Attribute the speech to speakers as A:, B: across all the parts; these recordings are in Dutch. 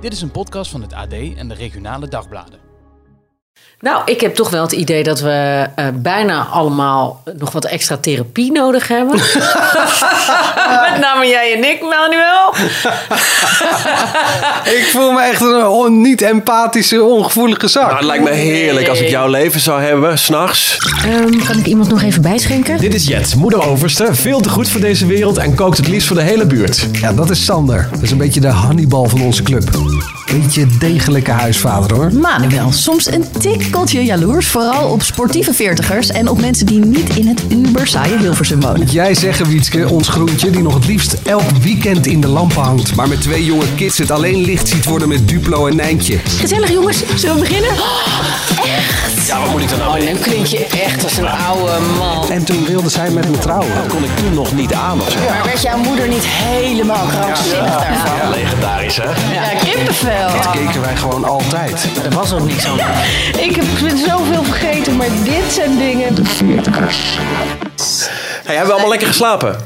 A: Dit is een podcast van het AD en de regionale dagbladen.
B: Nou, ik heb toch wel het idee dat we eh, bijna allemaal nog wat extra therapie nodig hebben. Met name jij en ik, Manuel.
C: Ik voel me echt een on- niet-empathische, ongevoelige zak.
D: Nou, het lijkt me heerlijk als ik jouw leven zou hebben, s'nachts.
E: Ehm, kan ik iemand nog even bijschenken?
F: Dit is Jet, moeder overste, veel te goed voor deze wereld en kookt het liefst voor de hele buurt.
C: Ja, dat is Sander. Dat is een beetje de Hannibal van onze club. Beetje degelijke huisvader hoor.
E: Manuel, soms een tikkeltje jaloers, vooral op sportieve veertigers en op mensen die niet in het uber saaie Hilversum wonen.
C: Jij zeggen, Wietske, ons groentje, die nog het liefst elk weekend in de lampen hangt. Maar met twee jonge kids het alleen licht ziet worden met Duplo en Nijntje.
E: Gezellig jongens, zullen we beginnen?
D: Ja, wat moet ik dan nou mee?
B: Dan Oh, klink je echt als een oude man.
C: En toen wilde zij met hem trouwen.
D: Kon ik toen nog niet aan of zo?
G: Maar werd jouw moeder niet helemaal krankzinnig daarvan?
D: Ja, legendarisch, hè?
G: Ja, kippenvel.
C: Dat keken wij gewoon altijd.
B: Er was ook niks aan.
G: Ik heb zoveel vergeten, maar dit zijn dingen...
D: Hey, hebben we allemaal lekker geslapen?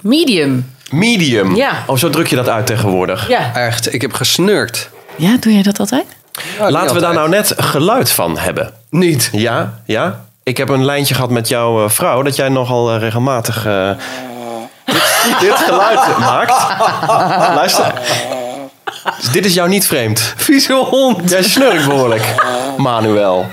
B: Medium.
D: Medium.
B: Ja.
D: Oh, zo druk je dat uit tegenwoordig.
B: Ja.
C: Echt, ik heb gesnurkt.
E: Ja, doe jij dat altijd?
D: Laten we daar nou net geluid van hebben.
C: Niet.
D: Ja, ja. Ik heb een lijntje gehad met jouw eh, vrouw dat jij nogal eh, regelmatig eh, dit, dit geluid maakt. Luister. Dus dit is jou niet vreemd.
C: Vieze hond.
D: Jij snurkt behoorlijk, Manuel.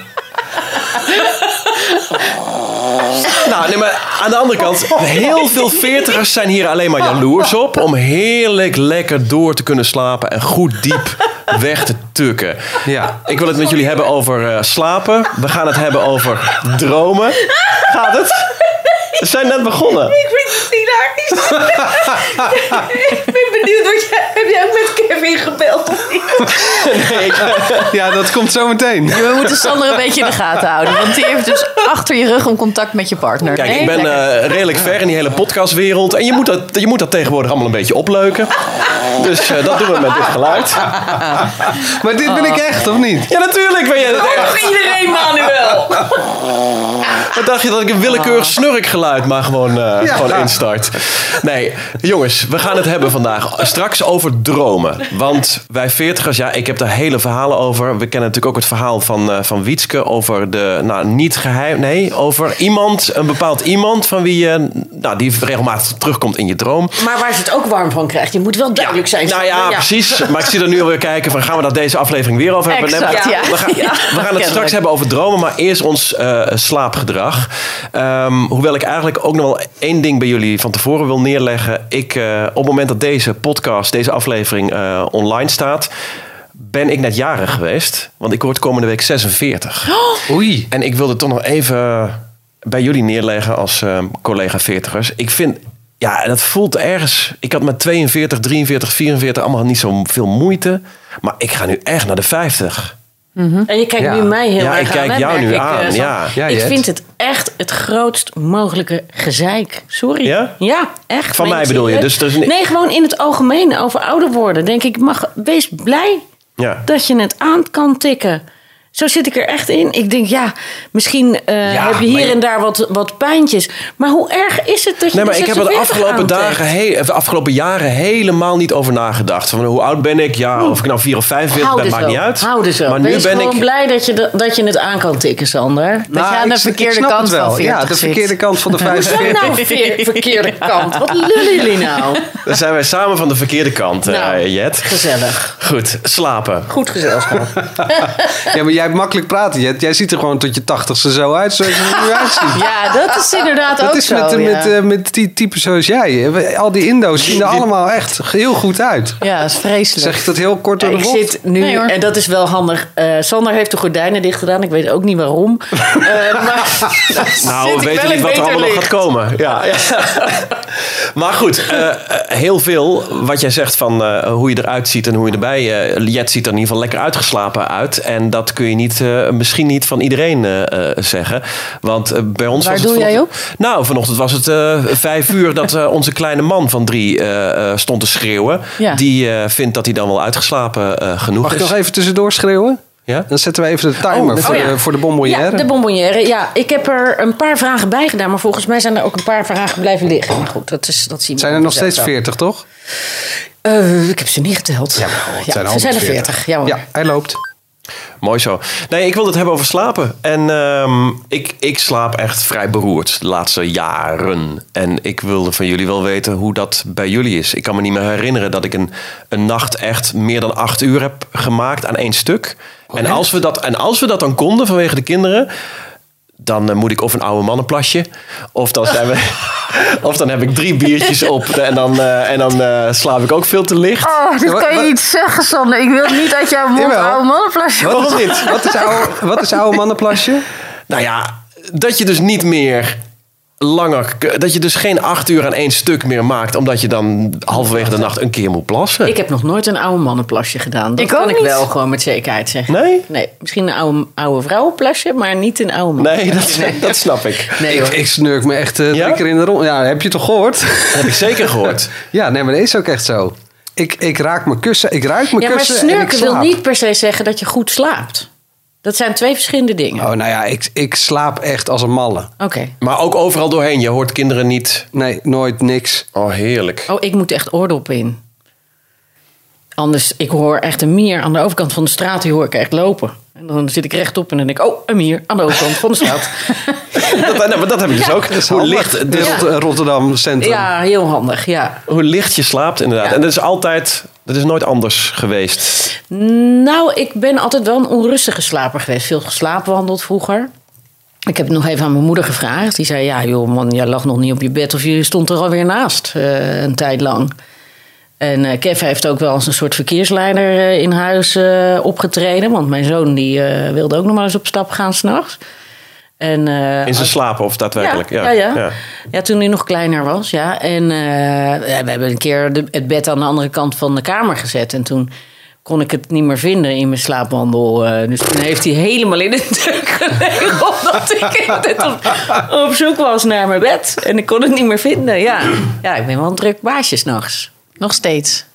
D: Nou, nee, maar aan de andere kant, heel veel veertigers zijn hier alleen maar jaloers op. Om heerlijk lekker door te kunnen slapen en goed diep weg te tukken.
C: Ja.
D: Ik wil het met jullie hebben over eh, slapen. We gaan het hebben over dromen. Gaat het? We zijn net begonnen.
H: Ik vind het hilarisch. ik ben benieuwd, wat jij, heb jij ook met Kevin gebeld of niet?
C: Ja, dat komt zo meteen.
E: We moeten Sander een beetje in de gaten houden, want die heeft dus achter je rug om contact met je partner.
D: Kijk,
E: Nee,
D: ik ben
E: lekker.
D: eh, redelijk ver in die hele podcastwereld. En je moet, dat, je moet dat tegenwoordig allemaal een beetje opleuken. Dus eh, dat doen we met dit geluid.
C: Maar dit
G: Oh.
C: ben ik echt, of niet?
D: Ja, natuurlijk ben jij dat echt.
H: Iedereen, Manuel.
D: Wat dacht je dat ik een willekeurig snurkgeluid maar gewoon, eh,
C: Ja.
D: gewoon instart? Nee, jongens, we gaan het hebben vandaag straks over dromen. Want wij veertigers, ja, ik heb daar hele verhalen over. We kennen natuurlijk ook het verhaal van, eh, van Wietske over de, nou, niet geheim, nee, over iemand, een bepaald iemand van wie je, nou, die regelmatig terugkomt in je droom.
B: Maar waar ze het ook warm van krijgt, je moet wel duidelijk zijn.
D: Nou ja, precies. Maar ik zie er nu alweer kijken van gaan we dat deze aflevering weer over hebben?
E: Exact,
D: maar-
E: ja.
D: we, gaan,
E: Ja.
D: we gaan het
E: Kennelijk.
D: straks hebben over dromen, maar eerst ons eh, slaapgedrag. Ehm, hoewel ik eigenlijk ook nog wel één ding bij jullie van tevoren wil neerleggen. Ik, eh, op het moment dat deze podcast, deze aflevering eh, online staat, ben ik net jarig geweest. Want ik word komende week 46.
C: Oei.
D: En ik wilde toch nog even bij jullie neerleggen als eh, collega 40ers. Ik vind, ja, dat voelt ergens. Ik had met 42, 43, 44 allemaal niet zo veel moeite. Maar ik ga nu echt naar de 50.
B: En je kijkt
C: Ja.
B: nu mij heel
D: Ja,
B: erg
D: ik kijk
B: aan, hè,
D: jou
B: merk
D: nu
B: ik, eh,
D: aan,
B: Sander.
D: ja.
C: Ja,
B: ik
C: Jet.
B: vind het echt het grootst mogelijke gezeik. Sorry.
D: Ja?
B: echt.
D: Van
B: Meen
D: mij
B: ik
D: bedoel je,
B: serieus.
D: dus er is een-
B: Nee, gewoon in het algemeen over ouder worden. Denk ik, mag, wees blij
D: Ja.
B: dat je het aan kan tikken. Zo zit ik er echt in. Ik denk, ja, misschien eh, heb je hier en daar wat, wat pijntjes. Maar hoe erg is het dat je
D: Nee,
B: de
D: maar ik heb er de
B: 46
D: afgelopen,
B: aantikt?
D: dagen, he- of de afgelopen jaren helemaal niet over nagedacht. Van hoe oud ben ik? Ja, of ik nou 4 of 45
B: Houden
D: ben, maakt
B: zo.
D: niet uit.
B: Houden zo.
D: Maar nu
B: Wees
D: ben
B: gewoon
D: ik... Nou,
B: blij dat je, de- dat je het aan kan tikken, Sander.
E: Dat je aan de
C: Nou, ik- ik
E: verkeerde
C: snap het
E: kant
C: wel.
E: van 40
C: Ja, de
E: zit.
C: verkeerde kant van de
B: Zo
C: 45.
B: nou veer- verkeerde kant. Wat lullen jullie nou?
D: Dan zijn wij samen van de verkeerde kant, eh,
B: Nou,
D: Jet.
B: Gezellig.
D: Goed, slapen.
B: Goed gezelschap.
C: Ja, maar jij hebt makkelijk praten, Jet. Jij ziet er gewoon tot je tachtigste zo uit zoals je er nu uitziet.
E: Ja, dat is inderdaad
C: eh, Dat
E: ook
C: is
E: zo.
C: met,
E: ja.
C: met, eh, met die typen zoals jij. We- Al die Indo's zien er allemaal echt heel goed uit.
E: ja, dat is vreselijk.
C: Zeg ik dat heel kort door de
B: ik
C: bocht?
B: zit nu,
E: Nee, hoor.
B: en dat is wel handig. eh, Sander heeft de gordijnen dicht gedaan. Ik weet ook niet waarom. Eh, maar
D: Nou, we
B: zit ik wel
D: weten niet
B: in
D: wat er
B: beter
D: allemaal nog
B: licht.
D: gaat komen. Ja, ja. maar goed, eh, eh, heel veel wat jij zegt van eh, hoe je eruit ziet en hoe je erbij... eh Jet ziet er in ieder geval lekker uitgeslapen uit. En dat kun je niet, eh, misschien niet van iedereen eh, eh, zeggen. Want eh, bij ons
E: Waar
D: was het
E: doe jij
D: vanochtend- Nou, vanochtend was het eh, vijf uur dat eh, onze kleine man van drie eh, eh, stond te schreeuwen.
E: Ja.
D: Die eh, vindt dat hij dan wel uitgeslapen eh, genoeg
C: Mag ik
D: is.
C: nog even tussendoor schreeuwen?
D: Ja?
C: Dan zetten we even de timer
B: Dus- Oh,
C: voor,
B: ja.
C: de, voor de bonbonnière.
B: Ja, de bonbonnière. Ja, ik heb er een paar vragen bij gedaan. Maar volgens mij zijn er ook een paar vragen blijven liggen. Maar goed, dat, is, dat zien we.
C: zijn er nog
B: zelf
C: steeds
B: wel.
C: 40, toch?
B: Eh, ik heb ze niet geteld. Ja,
C: het zijn
B: ze zijn er
C: 140.
B: 40. Ja, hoor.
C: Ja, hij loopt.
D: Mooi zo. Nee, ik wilde het hebben over slapen. En ehm, ik, ik slaap echt vrij beroerd de laatste jaren. En ik wilde van jullie wel weten hoe dat bij jullie is. Ik kan me niet meer herinneren dat ik een, een nacht echt meer dan acht uur heb gemaakt aan één stuk. en, als we dat, en als we dat dan konden vanwege de kinderen, dan eh, moet ik of een oude mannenplasje, of dan, zijn we, of dan heb ik drie biertjes op en dan, eh, en dan eh, slaap ik ook veel te licht.
G: Oh, dit kan je niet zeggen, Sander. Ik wil niet uit jouw mond
C: Jawel.
G: oude mannenflesje
C: Wat is dit? Wat is oude, wat is oude mannenplasje?
D: Nou ja, dat je dus niet meer langer... Dat je dus geen acht uur aan één stuk meer maakt... omdat je dan halverwege de nacht een keer moet plassen.
B: Ik heb nog nooit een oude mannenplasje gedaan. Dat
G: Ik ook
B: kan ik
G: niet.
B: wel gewoon met zekerheid zeggen.
D: Nee?
B: Nee, misschien een oude, oude vrouwenplasje, maar niet een oude man.
D: Nee, dat, dat snap ik.
B: Nee,
C: ik,
B: hoor.
C: ik snurk me echt eh, drie
D: Ja?
C: keer in de rond. Ja, heb je toch gehoord?
D: Dat heb ik zeker gehoord.
C: ja, nee, maar dat is ook echt zo. Ik, ik raak mijn kussen, ik ruik mijn
B: ja, maar
C: kussen en ik
B: snurken wil
C: slaap.
B: niet per se zeggen dat je goed slaapt. Dat zijn twee verschillende dingen.
C: Oh, nou ja, ik, ik slaap echt als een malle.
B: Oké.
D: Maar ook overal doorheen. Je hoort kinderen niet...
C: Nee, nooit niks.
D: Oh, heerlijk.
B: Oh, ik moet echt oordoppen in. Anders, ik hoor echt een mier aan de overkant van de straat. Die hoor ik echt lopen. En dan zit ik rechtop en dan denk ik... Oh, een mier aan de overkant van de straat.
D: Dat, nou, maar dat heb ik dus ook. Hoe licht,
C: De
D: dus
C: Rot- Rotterdam Centrum.
B: ja, heel handig, ja.
D: hoe licht je slaapt inderdaad.
B: Ja.
D: En dat is altijd... Dat is nooit anders geweest.
B: Nou, ik ben altijd wel een onrustige slaper geweest. Veel geslaapwandeld vroeger. Ik heb het nog even aan mijn moeder gevraagd. Die zei, ja joh man, jij lag nog niet op je bed... of je stond er alweer naast eh, een tijd lang. En eh Kev heeft ook wel als een soort verkeersleider eh, in huis eh, opgetreden. Want mijn zoon die, eh, wilde ook nog maar eens op stap gaan s'nachts. En, eh,
D: In zijn
B: als-
D: slapen of daadwerkelijk. Ja,
B: ja, ja. ja. Ja, toen hij nog kleiner was, ja. En eh, ja, we hebben een keer de, het bed aan de andere kant van de kamer gezet. En toen kon ik het niet meer vinden in mijn slaapwandel. eh, dus toen heeft hij helemaal in de deuk gelegen... omdat ik net op, op zoek was naar mijn bed. En ik kon het niet meer vinden, ja. Ja, ik ben wel een druk baasje s'nachts. Nog steeds.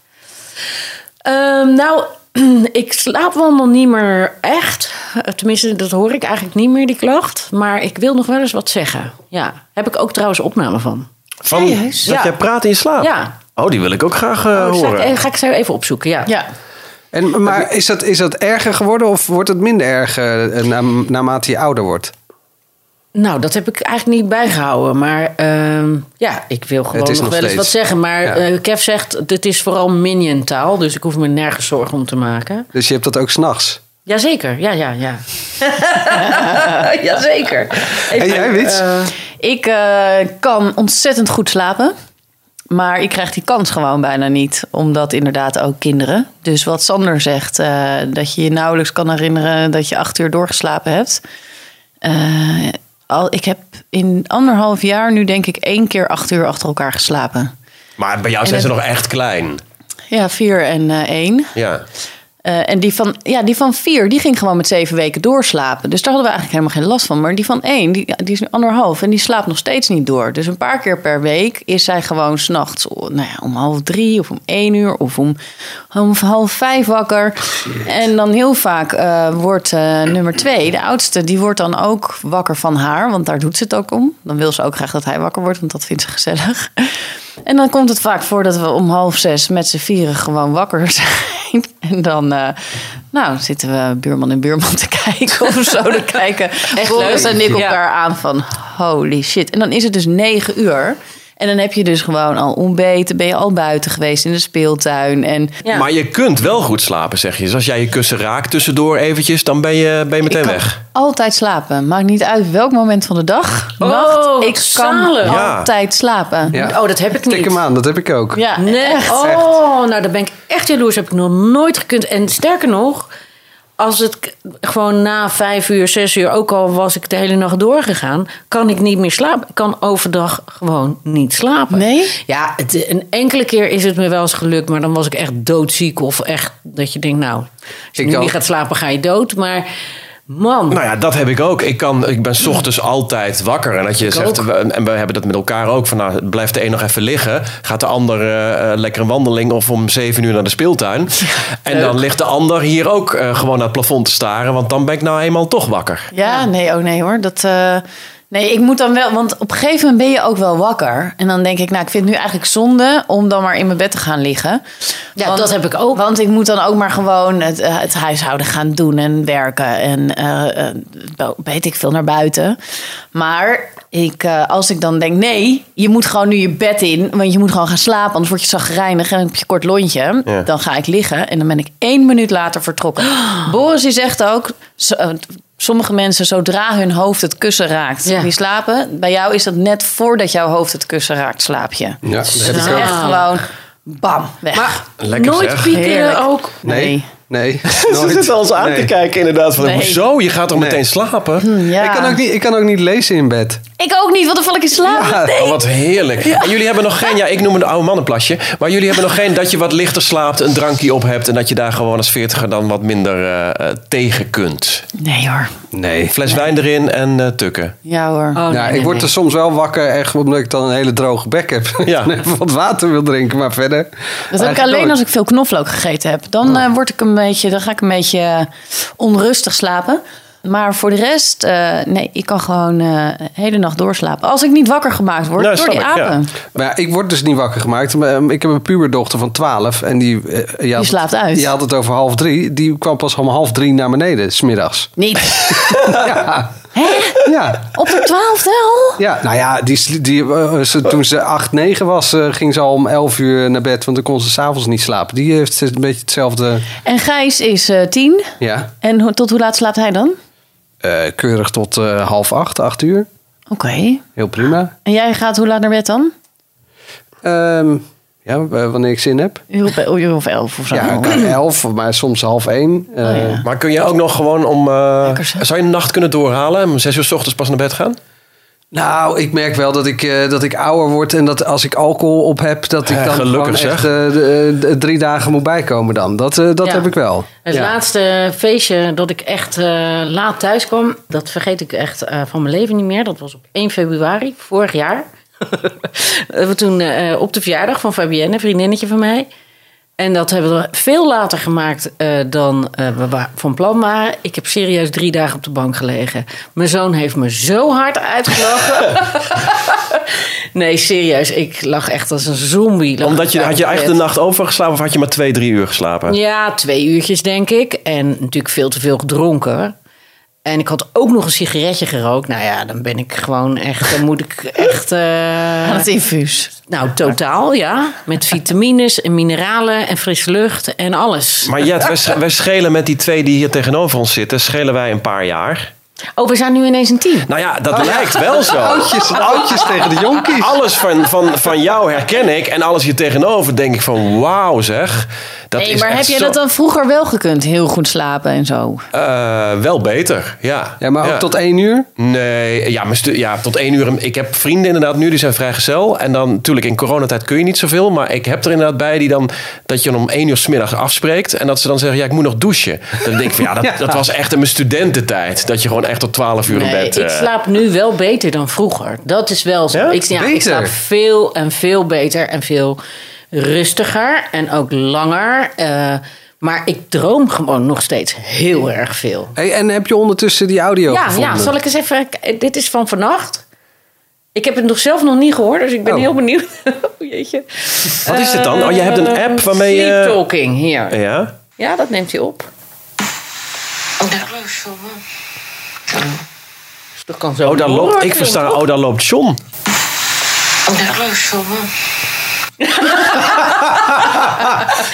B: Ehm, nou, ik slaap wandel niet meer echt. Eh, Tenminste, dat hoor ik eigenlijk niet meer, die klacht. Maar ik wil nog wel eens wat zeggen. Ja, heb ik ook trouwens opname van.
D: Van, dat
B: Ja.
D: jij praat in je slaap.
B: Ja.
D: Oh, die wil ik ook graag eh,
B: Oh,
D: horen.
B: ga, ik, ga ik zo even opzoeken, ja.
G: Ja.
C: En, maar is dat, is dat erger geworden of wordt het minder erg eh, na- naarmate je ouder wordt?
B: Nou, dat heb ik eigenlijk niet bijgehouden. Maar ehm, ja, ik wil gewoon
C: Het
B: nog,
C: is
B: wel
C: nog
B: eens wat
C: steeds.
B: zeggen. Maar
C: Ja.
B: eh, Kev zegt, dit is vooral miniontaal. Dus ik hoef me nergens zorgen om te maken.
C: Dus je hebt dat ook s'nachts.
B: Jazeker, ja, ja, ja. Jazeker.
C: En jij, Wits?
E: Ik eh, kan ontzettend goed slapen. Maar ik krijg die kans gewoon bijna niet. Omdat inderdaad ook kinderen. Dus wat Sander zegt, eh, dat je je nauwelijks kan herinneren dat je acht uur doorgeslapen hebt. Eh, al, ik heb in anderhalf jaar nu denk ik één keer acht uur achter elkaar geslapen.
D: Maar bij jou
E: En
D: zijn ze
E: het-
D: nog echt klein.
E: Ja, vier en eh, één.
D: Ja.
E: Eh, en die van, ja, die van vier, die ging gewoon met zeven weken doorslapen. Dus daar hadden we eigenlijk helemaal geen last van. Maar die van één, die, die is nu anderhalf en die slaapt nog steeds niet door. Dus een paar keer per week is zij gewoon s'nachts nou ja, om half drie of om één uur of om, om half vijf wakker. En dan heel vaak eh, wordt eh, nummer twee, de oudste, die wordt dan ook wakker van haar. Want daar doet ze het ook om. Dan wil ze ook graag dat hij wakker wordt, want dat vindt ze gezellig. En dan komt het vaak voor dat we om half zes met z'n vieren gewoon wakker zijn. En dan eh, nou, zitten we buurman en buurman te kijken of zo. Dan kijken Boris en ik elkaar aan van holy shit. En dan is het dus negen uur. En dan heb je dus gewoon al ontbeten. Ben je al buiten geweest in de speeltuin. En
B: Ja.
D: Maar je kunt wel goed slapen, zeg je. Dus als jij je kussen raakt tussendoor eventjes, dan ben je, ben je meteen
E: ik kan
D: weg.
E: altijd slapen. Maakt niet uit welk moment van de dag, nacht. Ik kan
B: Oh, zalig.
D: Ja.
E: altijd slapen.
C: Ja.
B: Oh, dat heb ik niet.
C: Tik hem aan, dat heb ik ook.
E: Ja,
B: Nee.
E: echt.
B: Oh, nou, daar ben ik echt jaloers. Heb ik nog nooit gekund. En sterker nog, als het k- gewoon na vijf uur, zes uur, ook al was ik de hele nacht doorgegaan, kan ik niet meer slapen. Ik kan overdag gewoon niet slapen.
E: Nee?
B: Ja, het, een enkele keer is het me wel eens gelukt, maar dan was ik echt doodziek. Of echt dat je denkt, nou, als je
C: Ik
B: nu
C: ook.
B: niet gaat slapen, ga je dood. Maar. Man.
D: Nou ja, dat heb ik ook. Ik, kan, ik ben 's ochtends altijd wakker. En dat je zegt, we- en we hebben dat met elkaar ook. Van, nou, blijft de een nog even liggen. Gaat de ander eh, eh, lekker een wandeling of om zeven uur naar de speeltuin. en dan ligt de ander hier ook eh, gewoon naar het plafond te staren. Want dan ben ik nou eenmaal toch wakker.
E: Ja, nee, oh nee hoor. Dat, eh, nee, ik moet dan wel, want op een gegeven moment ben je ook wel wakker. En dan denk ik, nou, ik vind het nu eigenlijk zonde om dan maar in mijn bed te gaan liggen.
B: Ja,
E: Want-
B: dat heb ik ook.
E: Want ik moet dan ook maar gewoon het, eh, het huishouden gaan doen en werken. En eh, eh, wel- weet ik veel naar buiten. Maar ik, eh, als ik dan denk, nee, je moet gewoon nu je bed in. Want je moet gewoon gaan slapen, anders word je zagrijnig en heb je kort lontje.
D: Ja.
E: Dan ga ik liggen en dan ben ik één minuut later vertrokken. Boris die zegt ook, zo- eh, sommige mensen zodra hun hoofd het kussen raakt,
B: Ja.
E: die slapen. Bij jou is dat net voordat jouw hoofd het kussen raakt, slaap je.
F: Ja, dat heb
E: Dus
F: ik ook.
E: echt gewoon, bam, weg.
D: Lekker
B: Nooit
D: zeg.
B: piekeren
E: Heerlijk.
B: ook.
F: Nee.
E: Nee.
F: Nee.
D: Ze zitten ons aan te kijken inderdaad. Van,
E: Nee.
D: Hoezo? Je gaat toch
F: Nee.
D: meteen slapen?
E: Hmm, Ja.
F: Ik, kan ook niet, ik kan ook niet lezen in bed. Ah,
E: Ik ook niet, want dan val ik in slaap.
D: Oh, wat heerlijk. En jullie hebben nog geen, ja, ik noem het een oude mannenplasje. Maar jullie hebben nog geen dat je wat lichter slaapt, een drankje op hebt. En dat je daar gewoon als veertiger dan wat minder eh, eh, tegen kunt.
E: Nee hoor.
F: Nee.
D: Fles wijn erin en eh, tukken.
E: Ja
B: Oh,
E: hoor.
B: nee,
F: ja,
B: nee,
F: Nou, ik word
B: nee.
F: er soms wel wakker, echt omdat ik dan een hele droge bek heb.
D: Ja.
F: En even wat water wil drinken, maar verder.
E: Oh, dat heb ik
F: eigenlijk
E: alleen
F: nooit.
E: als ik veel knoflook gegeten heb. Dan, eh, word ik een beetje, dan ga ik een beetje eh, onrustig slapen. Maar voor de rest, eh, nee, ik kan gewoon eh de hele nacht doorslapen. Als ik niet wakker gemaakt word
D: Nou,
E: door
D: snap
E: die
D: ik, ja.
E: apen.
F: Maar ja, ik word dus niet wakker gemaakt. Maar, ehm, Ik heb een puberdochter van 12 en die... eh, je had het-
E: slaapt uit.
F: Je had het over half drie. Die kwam pas om half drie naar beneden, smiddags.
E: Niet.
F: Ja. ja.
E: Op de twaalfde al?
F: Ja, nou ja, die, sli- die, eh, ze, toen ze 8, 9 was, eh, ging ze al om 11 uur naar bed. Want dan kon ze s'avonds niet slapen. Die heeft een beetje hetzelfde.
E: En Gijs is eh, tien.
F: Ja,
E: En ho- tot hoe laat slaapt hij dan?
F: eh, keurig tot eh, half 8, 8 uur.
E: Oké.
F: Heel prima.
E: En jij gaat hoe laat naar bed dan?
F: Ehm, ja, w- wanneer ik zin heb.
E: Uur of, uur of elf of zo.
F: Ja, ik kan 11, maar soms half 1. Eh
E: ja.
D: Maar kun je ook nog gewoon om... eh,
E: Lekker zo.
D: zou je een nacht kunnen doorhalen en om zes uur s ochtends pas naar bed gaan?
F: Nou, ik merk wel dat ik, eh, dat ik ouder word en dat als ik alcohol op heb, dat ik
D: Ja,
F: dan
D: gelukkig,
F: gewoon echt
D: zeg.
F: eh, de- de- drie dagen moet bijkomen dan. Dat, eh, dat
B: Ja.
F: heb ik wel.
B: Het
F: Ja.
B: laatste feestje dat ik echt eh, laat thuis kwam, dat vergeet ik echt eh, van mijn leven niet meer. Dat was op 1 februari vorig jaar. we toen eh, op de verjaardag van Fabienne, een vriendinnetje van mij. En dat hebben we veel later gemaakt eh, dan eh, we wa- van plan waren. Ik heb serieus drie dagen op de bank gelegen. Mijn zoon heeft me zo hard uitgelachen. nee, serieus. Ik lag echt als een zombie. lag
D: Omdat
B: ik
D: je,
B: daar
D: had je
B: op bed.
D: eigenlijk de nacht overgeslapen of had je maar twee, drie uur geslapen?
B: Ja, twee uurtjes denk ik. En natuurlijk veel te veel gedronken. En ik had ook nog een sigaretje gerookt. Nou ja, dan ben ik gewoon echt. Dan moet ik echt. eh,
E: Aan het infuus.
B: nou, totaal ja. Met vitamines en mineralen en frisse lucht en alles.
D: Maar Jet, wij, sch- wij schelen met die twee die hier tegenover ons zitten, schelen wij een paar jaar.
B: Oh, we zijn nu ineens een team.
D: Nou ja, dat lijkt wel zo.
F: Oudjes, oudjes tegen de jonkies.
D: Alles van, van, van jou herken ik. En alles hier tegenover denk ik van wauw zeg. Dat
E: Nee,
D: is
E: maar
D: echt
E: heb je
D: zo-
E: dat dan vroeger wel gekund? Heel goed slapen en zo.
D: Eh, wel beter, ja.
F: Ja, maar ook tot één uur?
D: Nee, ja, mijn stu- ja, tot één uur. Ik heb vrienden inderdaad nu, die zijn vrijgezel. En dan natuurlijk in coronatijd kun je niet zoveel. Maar ik heb er inderdaad bij die dan... dat je dan om één uur smiddags afspreekt. En dat ze dan zeggen, ja, ik moet nog douchen. Dan denk ik van, ja, dat, dat was echt in mijn studententijd. Dat je gewoon echt tot twaalf uur in
B: Nee,
D: bed...
B: ik
D: eh,
B: slaap nu wel beter dan vroeger. Dat is wel zo.
D: Ja?
B: Ik, ja, ik
F: Beter?
B: slaap veel en veel beter en veel rustiger en ook langer. Eh, maar ik droom gewoon nog steeds heel erg veel.
F: Hey, en heb je ondertussen die audio
B: Ja,
F: gevonden?
B: ja, zal ik eens even. Dit is van vannacht. Ik heb het nog zelf nog niet gehoord, dus ik ben
F: Oh.
B: heel benieuwd. oh, jeetje.
D: Wat is het dan? Oh, je hebt een app
B: Eh,
D: waarmee je- Oh,
B: Sleep Talking hier.
D: Ja?
B: Ja, dat neemt hij op.
E: Oh,
B: Dus dat kan zo.
D: Oh, daar loopt... Ik versta, oh, daar loopt John.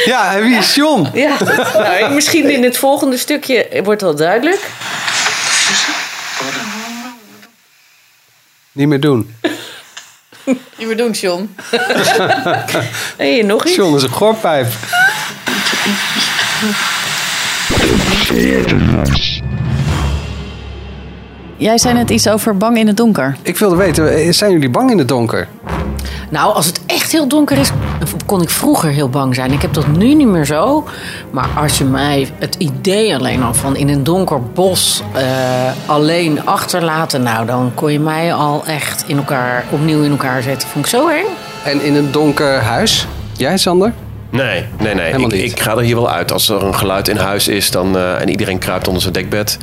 F: Ja, en wie is John?
B: Ja, nou, misschien in het volgende stukje wordt dat duidelijk.
F: Niet meer doen.
E: Je bedoelt, John.
B: Hé, nog iets.
F: John is een gorpijp.
E: Jij zei net iets over bang in het donker.
F: Ik wilde weten, eh, zijn jullie bang in het donker?
B: Nou, als het echt heel donker is, kon ik vroeger heel bang zijn. Ik heb dat nu niet meer zo. Maar als je mij het idee alleen al van in een donker bos eh, alleen achterlaten, nou dan kon je mij al echt in elkaar, opnieuw in elkaar zetten. Vond ik zo eng.
F: En in een donker huis? Jij, Sander?
D: Nee, nee, nee.
F: Helemaal
D: Ik,
F: niet.
D: ik ga er hier wel uit. Als er een geluid in huis is dan, eh, en iedereen kruipt onder zijn dekbed.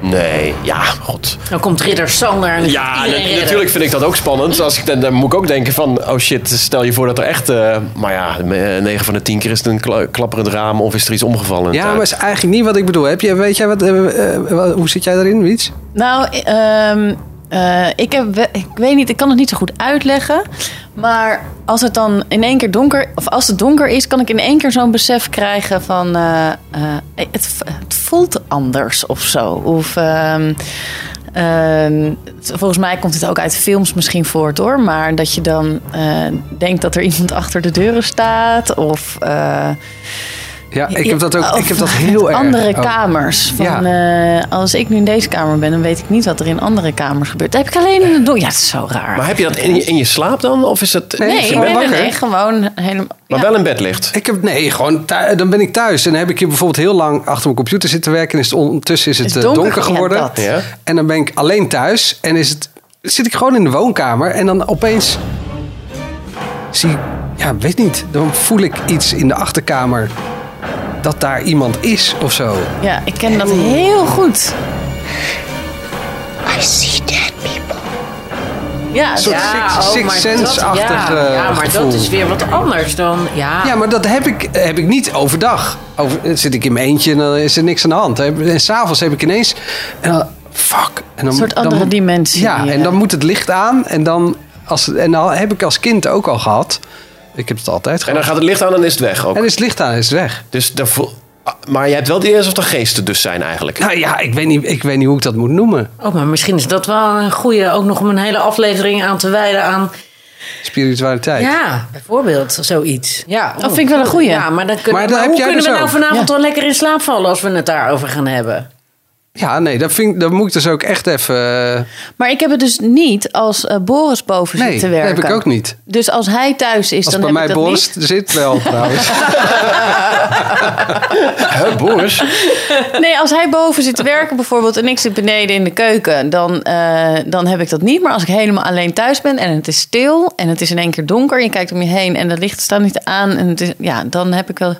D: Nee, ja, god.
B: Dan komt Ridder Sander en dan gaat
D: Ja,
B: iedereen
D: na-
B: redden.
D: natuurlijk vind ik dat ook spannend. Als ik, dan, dan moet ik ook denken van, oh shit, stel je voor dat er echt... eh, maar ja, 9 van de 10 keer is het een kla- klapperend raam of is er iets omgevallen. in de
F: Ja,
D: tuin.
F: maar is eigenlijk niet wat ik bedoel. Heb je, weet jij wat, eh, eh, wa- hoe zit jij daarin, Wiets?
E: Nou, i- ehm, eh, ik, heb, we- ik weet niet, ik kan het niet zo goed uitleggen. Maar als het dan in één keer donker, of als het donker is, kan ik in één keer zo'n besef krijgen van eh, eh, het, v- het voelt anders of zo. Of ehm, ehm, t- volgens mij komt het ook uit films misschien voort hoor. Maar dat je dan eh, denkt dat er iemand achter de deuren staat. Of eh,
F: Ja, ik
E: ja,
F: heb dat ook
E: of
F: ik heb dat heel erg.
E: Andere
F: ook.
E: kamers. Van,
F: Ja.
E: eh, als ik nu in deze kamer ben, dan weet ik niet wat er in andere kamers gebeurt. Dat heb ik alleen in de donker. Ja, het is zo raar.
D: Maar heb je dat in je, in je slaap dan? Of is dat...
F: Nee,
D: is
E: nee,
D: je
E: nee,
D: bed
E: nee,
D: wakker?
E: nee, gewoon helemaal.
D: Maar wel in bed ligt.
F: Ik heb, nee, gewoon thui- dan ben ik thuis. En dan heb ik hier bijvoorbeeld heel lang achter mijn computer zitten werken. En is het, ondertussen is het,
E: Is
F: eh,
E: donker,
F: donker,
E: ja,
F: geworden.
E: dat.
D: Ja.
F: En dan ben ik alleen thuis. En is het, zit ik gewoon in de woonkamer. En dan opeens zie ik, ja, weet niet. Dan voel ik iets in de achterkamer. Dat daar iemand is of zo.
E: Ja, ik ken dat heel goed.
H: I see dead people.
E: Ja,
F: soort
E: ja.
F: Six- Six
B: oh, maar
F: Sense-achtig,
B: ja,
F: eh,
B: ja, maar
F: gevoel.
B: dat is weer wat anders dan. Ja,
E: Ah.
F: Ja, maar dat heb ik, heb ik niet overdag. Over, eh, zit ik in mijn eentje en dan is er niks aan de hand. Heb- En s'avonds heb ik ineens... En dan, fuck. En dan,
E: Een soort andere
F: dan-
E: dimensie,
F: Ja,
E: ja.
F: en dan moet het licht aan. En dan, als, en dan heb ik als kind ook al gehad. Ik heb het altijd
D: En
F: gehad.
D: dan gaat het licht aan en is het weg ook.
F: En is het licht aan, is het weg.
D: Dus dan voel- Ah, Maar je hebt wel die eerste of de geesten dus zijn eigenlijk.
F: Nou ja, ik weet, niet, ik weet niet hoe ik dat moet noemen.
B: Oh, maar misschien is dat wel een goede, ook nog om een hele aflevering aan te wijden aan.
F: Spiritualiteit.
B: Ja, bijvoorbeeld zoiets. Ja,
E: Dat vind ik wel een goeie.
B: Ja, maar, dan kunnen,
F: Maar
B: maar,
F: dat heb
B: hoe
F: jij
B: kunnen
F: dus
B: we nou
F: ook.
B: vanavond
E: Ja.
B: wel lekker in slaap vallen als we het daarover gaan hebben?
F: Ja, nee, dat, vind, ik- dat moet ik dus ook echt even... eh,
E: Maar ik heb het dus niet als eh, Boris boven
F: Nee,
E: zit te
F: dat
E: werken.
F: heb ik ook niet.
E: Dus als hij thuis is,
F: Als
E: dan
F: bij
E: heb
F: mij
E: ik dat
F: Boris
E: niet.
F: zit wel trouwens.
D: Hè, Boris?
E: Nee, als hij boven zit te werken bijvoorbeeld en ik zit beneden in de keuken, dan, eh, dan heb ik dat niet. Maar als ik helemaal alleen thuis ben en het is stil en het is in één keer donker, je kijkt om je heen en de lichten staan niet aan en het is, ja, dan heb ik wel.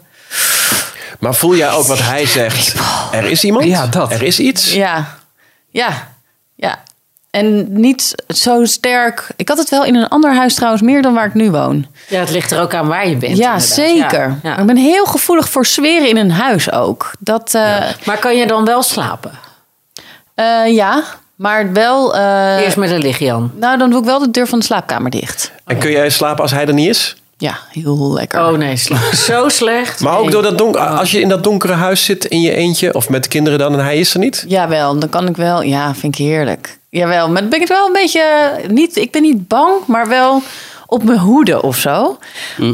D: Maar voel jij ook wat hij zegt? Er is iemand?
F: Ja, dat.
D: Er is iets?
E: Ja, ja, ja. En niet zo sterk. Ik had het wel in een ander huis trouwens meer dan waar ik nu woon.
B: Ja, het ligt er ook aan waar je bent.
E: Ja,
B: inderdaad.
E: zeker.
B: Ja, ja.
E: Ik ben heel gevoelig voor sferen in een huis ook. Dat, eh,
B: Maar kan je dan wel slapen?
E: eh, ja, maar wel. eh,
B: Eerst met een lichtjan.
E: nou, dan doe ik wel de deur van de slaapkamer dicht.
D: En kun jij slapen als hij er niet is?
E: Ja, heel lekker.
B: Oh nee, sla- zo slecht.
D: Maar ook
B: Nee.
D: door dat donker, als je in dat donkere huis zit in je eentje of met de kinderen dan en hij is er niet?
E: Jawel, dan kan ik wel. Ja, vind ik heerlijk. Jawel, maar dan ben ik wel een beetje. eh, Niet, ik ben niet bang, maar wel op mijn hoede of zo.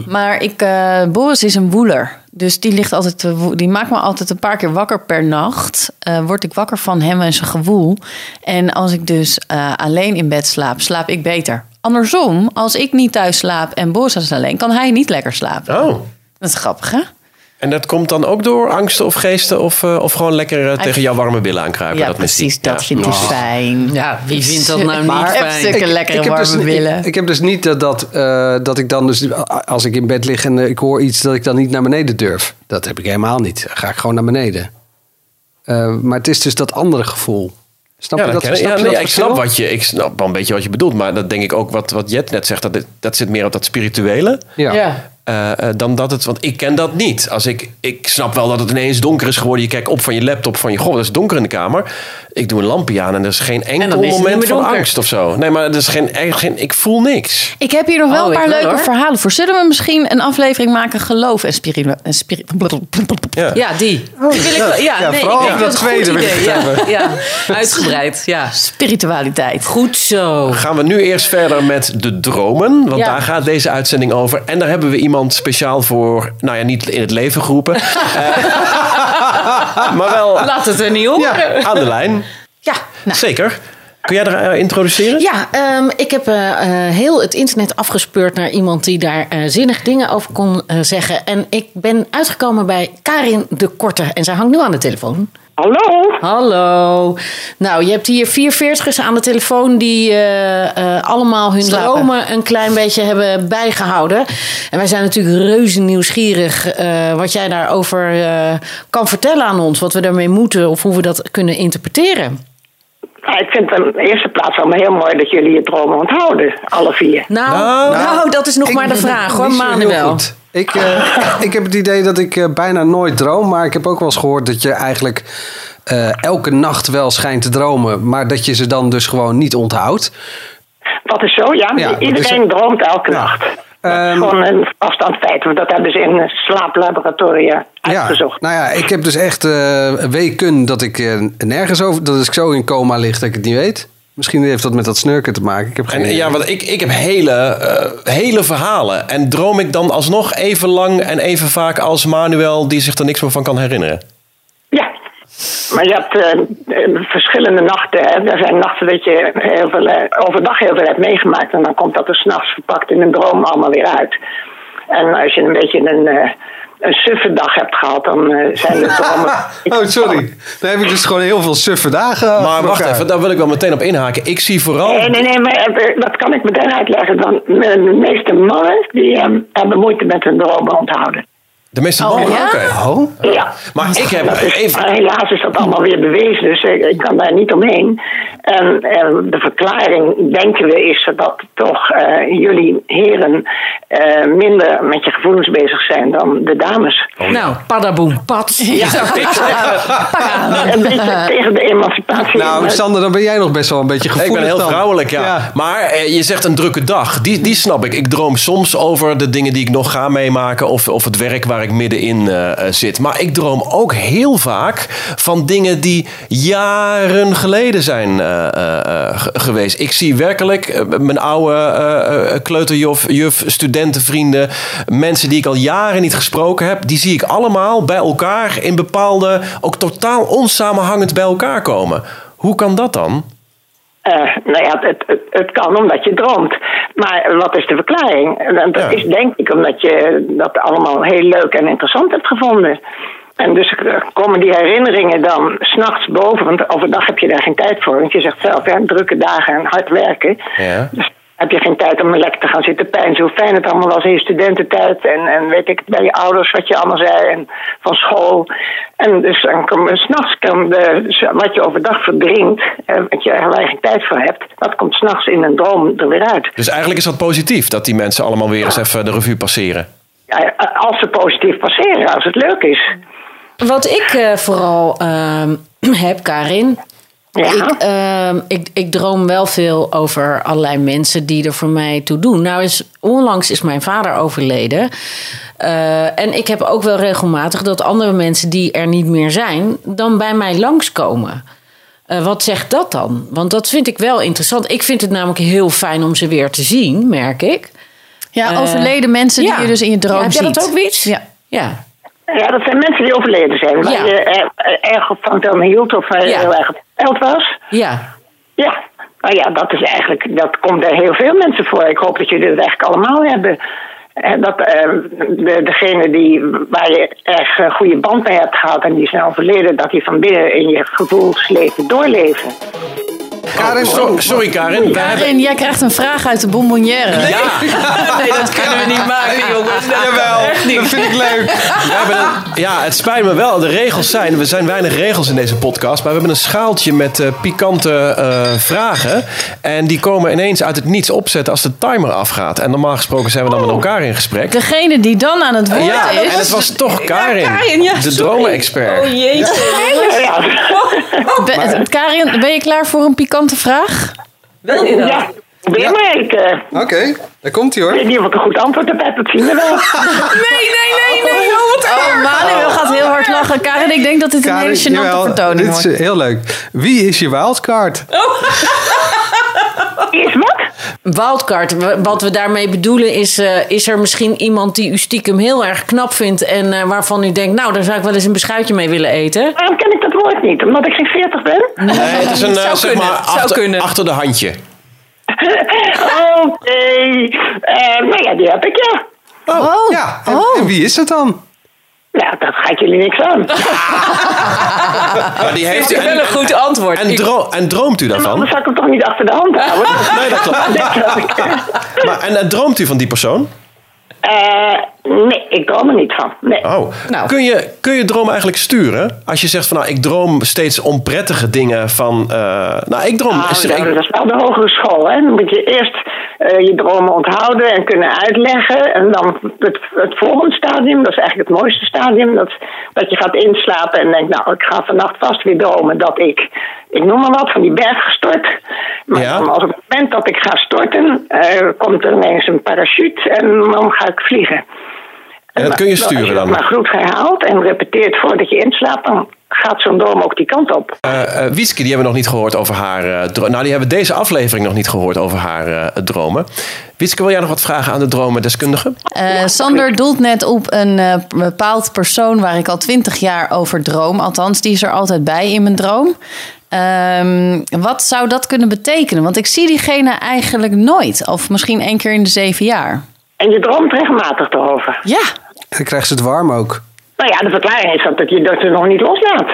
E: Maar ik, eh, Boris is een woeler. Dus die, ligt altijd te wo- die maakt me altijd een paar keer wakker per nacht. Eh, word ik wakker van hem en zijn gewoel. En als ik dus eh, alleen in bed slaap, slaap ik beter. Andersom, als ik niet thuis slaap en Boris is alleen, kan hij niet lekker slapen.
D: Oh.
E: Dat is grappig, hè?
D: En dat komt dan ook door angsten of geesten of, eh, of gewoon lekker eh, tegen jouw warme billen aankruipen?
E: Ja,
D: dat
E: precies.
D: mystiek.
E: Dat
D: Ja.
E: vindt hij fijn.
B: Ja, wie vindt dat nou niet
E: Maar-
B: fijn?
E: Stukken lekkere warme
F: dus,
E: billen.
F: Ik, ik heb dus niet dat, dat, eh, dat ik dan dus, als ik in bed lig en eh, ik hoor iets, dat ik dan niet naar beneden durf. Dat heb ik helemaal niet. Dan ga ik gewoon naar beneden. Eh, maar het is dus dat andere gevoel. Snap
D: Ja,
F: je
D: dat
F: dat?
D: ken ik.
F: snap
D: Ja,
F: je
D: nee,
F: dat
D: ik
F: verschil?
D: snap wat je, ik snap wel een beetje wat je bedoelt, maar dat denk ik ook wat, wat Jet net zegt, dat, dit- dat zit meer op dat spirituele.
F: Ja.
D: Eh, eh, dan dat het, want ik ken dat niet. Als ik, ik snap wel dat het ineens donker is geworden. Je kijkt op van je laptop van je, god, dat is donker in de kamer. Ik doe een lampje aan en er is geen
B: dan
D: enkel
B: is het niet
D: moment
B: meer
D: van
B: donker.
D: angst of zo. Nee, maar er is geen, er- geen, ik voel niks.
E: Ik heb hier nog wel
B: Oh,
E: een
B: ik
E: paar
B: wel,
E: leuke
B: hoor.
E: verhalen voor. Zullen we misschien een aflevering maken geloof en spiritu... En spiri-
D: Ja.
B: Ja, die. Die wil ik wel- Oh, ja,
F: ja,
B: nee,
F: vooral
B: ik denk
F: over dat
B: het een
F: tweede
B: goed
F: wil ik
B: idee, ja, ja, uitgebreid. Ja.
E: Spiritualiteit.
B: Goed zo.
D: Gaan we nu eerst verder met de dromen. Want
B: Ja.
D: daar gaat deze uitzending over. En daar hebben we iemand speciaal voor, nou ja, niet in het leven geroepen. eh, maar wel
B: Laat het er niet op.
D: aan de lijn.
E: Ja, nou,
D: Zeker. Kun jij er eh, introduceren?
B: Ja, ehm, ik heb eh, eh, heel het internet afgespeurd naar iemand die daar eh, zinnige dingen over kon eh, zeggen. En ik ben uitgekomen bij Karin de Korte. En zij hangt nu aan de telefoon.
I: Hallo?
B: Hallo. Nou, je hebt hier 44ers aan de telefoon die eh, eh, allemaal hun
E: Slapen.
B: dromen een klein beetje hebben bijgehouden. En wij zijn natuurlijk reuze nieuwsgierig eh, wat jij daarover eh, kan vertellen aan ons. Wat we daarmee moeten of hoe we dat kunnen interpreteren.
I: Nou, ik vind het in de eerste plaats allemaal heel mooi dat jullie je dromen onthouden, alle vier.
B: Nou, nou, dat is nog maar de vraag hoor,
F: Niet zo heel
B: Manuel.
F: goed. Ik, eh, ik heb het idee dat ik eh, bijna nooit droom. Maar ik heb ook wel eens gehoord dat je eigenlijk eh, elke nacht wel schijnt te dromen. Maar dat je ze dan dus gewoon niet onthoudt.
I: Dat is zo, ja.
F: Ja, dat
I: Iedereen
F: is-
I: droomt elke
F: Ja.
I: nacht. Dat is
F: Ehm,
I: gewoon een afstand feit, want dat hebben ze in eh, slaaplaboratoria uitgezocht.
F: nou ja, ik heb dus echt eh weken dat ik eh, nergens over... Dat ik zo in coma lig dat ik het niet weet. Misschien heeft dat met dat snurken te maken. Ik heb geen
D: En, eh,
F: idee.
D: ja, want ik, ik heb hele, eh, hele verhalen. En droom ik dan alsnog even lang en even vaak als Manuel, die zich er niks meer van kan herinneren?
I: Ja. Maar je hebt eh, eh, verschillende nachten. Hè. Er zijn nachten dat je heel veel, eh, overdag heel veel hebt meegemaakt. En dan komt dat er s'nachts verpakt in een droom allemaal weer uit. En als je een beetje een, eh, een suffe dag hebt gehad, dan eh, zijn de dromen...
F: Oh, sorry. Dan heb ik dus gewoon heel veel suffe dagen.
D: Maar
F: achter
D: wacht
F: elkaar.
D: even, daar wil ik wel meteen op inhaken. Ik zie vooral...
I: Nee, nee, nee, maar eh, dat kan ik meteen uitleggen. Want de meeste mannen die eh, hebben moeite met hun dromen onthouden.
D: De meeste mannen,
E: ja?
D: oké.
F: Oh?
I: Ja.
D: Maar ik heb
I: Dat is-
D: even...
I: maar helaas is dat allemaal weer bewezen, dus ik, ik kan daar niet omheen. En, eh, de verklaring, denken we, is dat toch eh, jullie heren eh, minder met je gevoelens bezig zijn dan de dames.
B: Nou, padaboom, pat.
I: Een beetje tegen de emancipatie.
F: Nou,
I: Maar-
F: Sander, dan ben jij nog best wel een beetje
D: Ik
F: gevoelig
D: ben heel
F: dan.
D: vrouwelijk, ja. Maar eh, je zegt een drukke dag. Die, die snap ik. Ik droom soms over de dingen die ik nog ga meemaken. Of, of het werk waar ik middenin eh, eh, zit. Maar ik droom ook heel vaak van dingen die jaren geleden zijn eh, eh, eh, ge- geweest. Ik zie werkelijk eh, mijn oude eh, eh, kleuterjuf, juf, studentenvrienden. Mensen die ik al jaren niet gesproken heb. Die zie ik allemaal bij elkaar in bepaalde, ook totaal onsamenhangend bij elkaar komen. Hoe kan dat dan?
I: Eh, nou ja, het, het, het kan omdat je droomt. Maar wat is de verklaring? En Dat
D: Ja.
I: is denk ik omdat je dat allemaal heel leuk en interessant hebt gevonden. En dus eh, komen die herinneringen dan s'nachts boven, want overdag heb je daar geen tijd voor. Want je zegt zelf, hè, drukke dagen en hard werken.
D: Ja.
I: Dus heb je geen tijd om lekker te gaan zitten pijnzen hoe fijn het allemaal was in je studententijd. En, en weet ik, het, bij je ouders wat je allemaal zei en van school. En dus dan kom, s'nachts kan de, wat je overdag verdrinkt, eh, wat je er geen tijd voor hebt, dat komt s'nachts in een droom er weer uit.
D: Dus eigenlijk is dat positief dat die mensen allemaal weer eens even de revue passeren.
I: Ja, Als ze positief passeren, als het leuk is.
B: Wat ik eh, vooral ehm, heb, Karin.
I: Ja.
B: Ik, ehm, ik, ik droom wel veel over allerlei mensen die er voor mij toe doen. Nou, is, onlangs is mijn vader overleden. Eh, en ik heb ook wel regelmatig dat andere mensen die er niet meer zijn, dan bij mij langskomen. Eh, wat zegt dat dan? Want dat vind ik wel interessant. Ik vind het namelijk heel fijn om ze weer te zien, merk ik.
E: Ja,
B: Eh,
E: overleden mensen
B: ja.
E: die je dus in je droom
B: Ja, heb
E: ziet.
B: jij dat ook, Wiets?
E: Ja.
B: Ja.
I: Ja, dat zijn mensen die overleden zijn. Waar
B: Ja.
I: je eh, eh, erg van dan hield of eh,
B: Ja.
I: heel erg verteld was.
B: Ja.
I: Ja, nou ja, dat is eigenlijk, dat komt er heel veel mensen voor. Ik hoop dat jullie het eigenlijk allemaal hebben. En dat eh, de, degene die, waar je echt een goede band mee hebt gehad en die zijn overleden, dat die van binnen in je gevoelsleven doorleven.
F: Karin,
D: So- Oh, sorry Karin, wij hebben...
E: Karin, jij krijgt een vraag uit de bonbonnière.
D: Ja,
E: nee, dat kunnen we niet maken, jongens.
F: Jawel, dat vind ik leuk.
D: we hebben een- ja, het spijt me wel. De regels zijn, er zijn weinig regels in deze podcast, maar we hebben een schaaltje met eh, pikante eh, vragen. En die komen ineens uit het niets opzetten als de timer afgaat. En normaal gesproken zijn we
B: Oh.
D: dan met elkaar in gesprek.
E: Degene die dan aan het woord
D: Ja,
E: is... Oh,
D: en het was toch Karin,
H: Karin, ja,
D: de
H: sorry.
B: Oh,
D: dromen-expert.
I: Ja,
E: Be- Karin, ben je klaar voor een pikante vraag?
H: Wil je dat?
I: ja. probeer maar. Ik eh,
F: Oké, daar komt hij
I: weet
F: hoor.
I: niet of ik een goed antwoord heb, dat zien we wel.
H: Nee, nee, nee, nee. Oh, wat
E: Oh, Manuel gaat heel hard lachen. Karin, ik denk dat dit een hele
F: Karin,
E: gênante vertoning Oh.
F: dit is
E: wordt.
F: eh, heel leuk. Wie is je wildcard?
I: Is wat?
B: Wildcard. W- Wat we daarmee bedoelen is, eh, is er misschien iemand die u stiekem heel erg knap vindt en eh, waarvan u denkt, nou, daar zou ik wel eens een beschuitje mee willen eten.
I: Waarom ken ik dat woord niet? Omdat ik geen 40 ben?
D: Nee, het is een, eh,
B: Zou
D: zeg
B: kunnen,
D: maar,
B: zou
D: achter,
B: kunnen.
D: achter de handje.
I: Oké. Eh, nou ja, die heb ik, ja.
E: Oh,
F: Ja, en,
E: oh.
F: en wie is het dan?
I: Nou, dat gaat jullie niks aan.
D: Maar die heeft,
B: Oh, Wel een
D: en,
B: goed antwoord.
D: en, dro- en droomt u daarvan?
I: Anders zou ik hem toch niet achter de hand houden?
D: Nee, dat klopt.
I: Dat had ik.
D: Maar, en, en droomt u van die persoon?
I: Eh, nee, ik droom er niet van. Nee.
D: Oh,
B: Nou.
D: kun, je, kun je droom eigenlijk sturen? Als je zegt van nou, ik droom steeds onprettige dingen van. eh, nou, ik droom.
I: Ah,
D: is er-
I: nou,
D: ik-
I: dat is wel de hogere school. Hè? Dan moet je eerst eh, je dromen onthouden en kunnen uitleggen. En dan het, het volgende stadium, dat is eigenlijk het mooiste stadium. Dat, dat je gaat inslapen en denkt, nou, ik ga vannacht vast weer dromen dat ik, ik noem maar wat, van die berg gestort. Maar
D: Ja.
I: dan als op het moment dat ik ga storten, eh, komt er ineens een parachute en dan ga ik vliegen.
D: en dat kun je
I: Nou, als
D: sturen
I: dat
D: dan.
I: Maar goed herhaalt en repeteert voordat je inslaapt, dan gaat zo'n droom ook die kant op.
D: Eh, eh, Wietske, die hebben we nog niet gehoord over haar eh, dro- Nou, die hebben deze aflevering nog niet gehoord over haar eh, dromen. Wietske, wil jij nog wat vragen aan de dromendeskundige?
E: Eh, Sander doelt net op een eh, bepaald persoon waar ik al twintig jaar over droom. Althans, die is er altijd bij in mijn droom. Ehm, wat zou dat kunnen betekenen? Want ik zie diegene eigenlijk nooit. Of misschien één keer in de zeven jaar.
I: En je droomt regelmatig erover.
E: Ja.
F: En dan krijgt ze het warm ook.
I: Nou ja, de verklaring is dat, dat je dat er nog niet loslaat.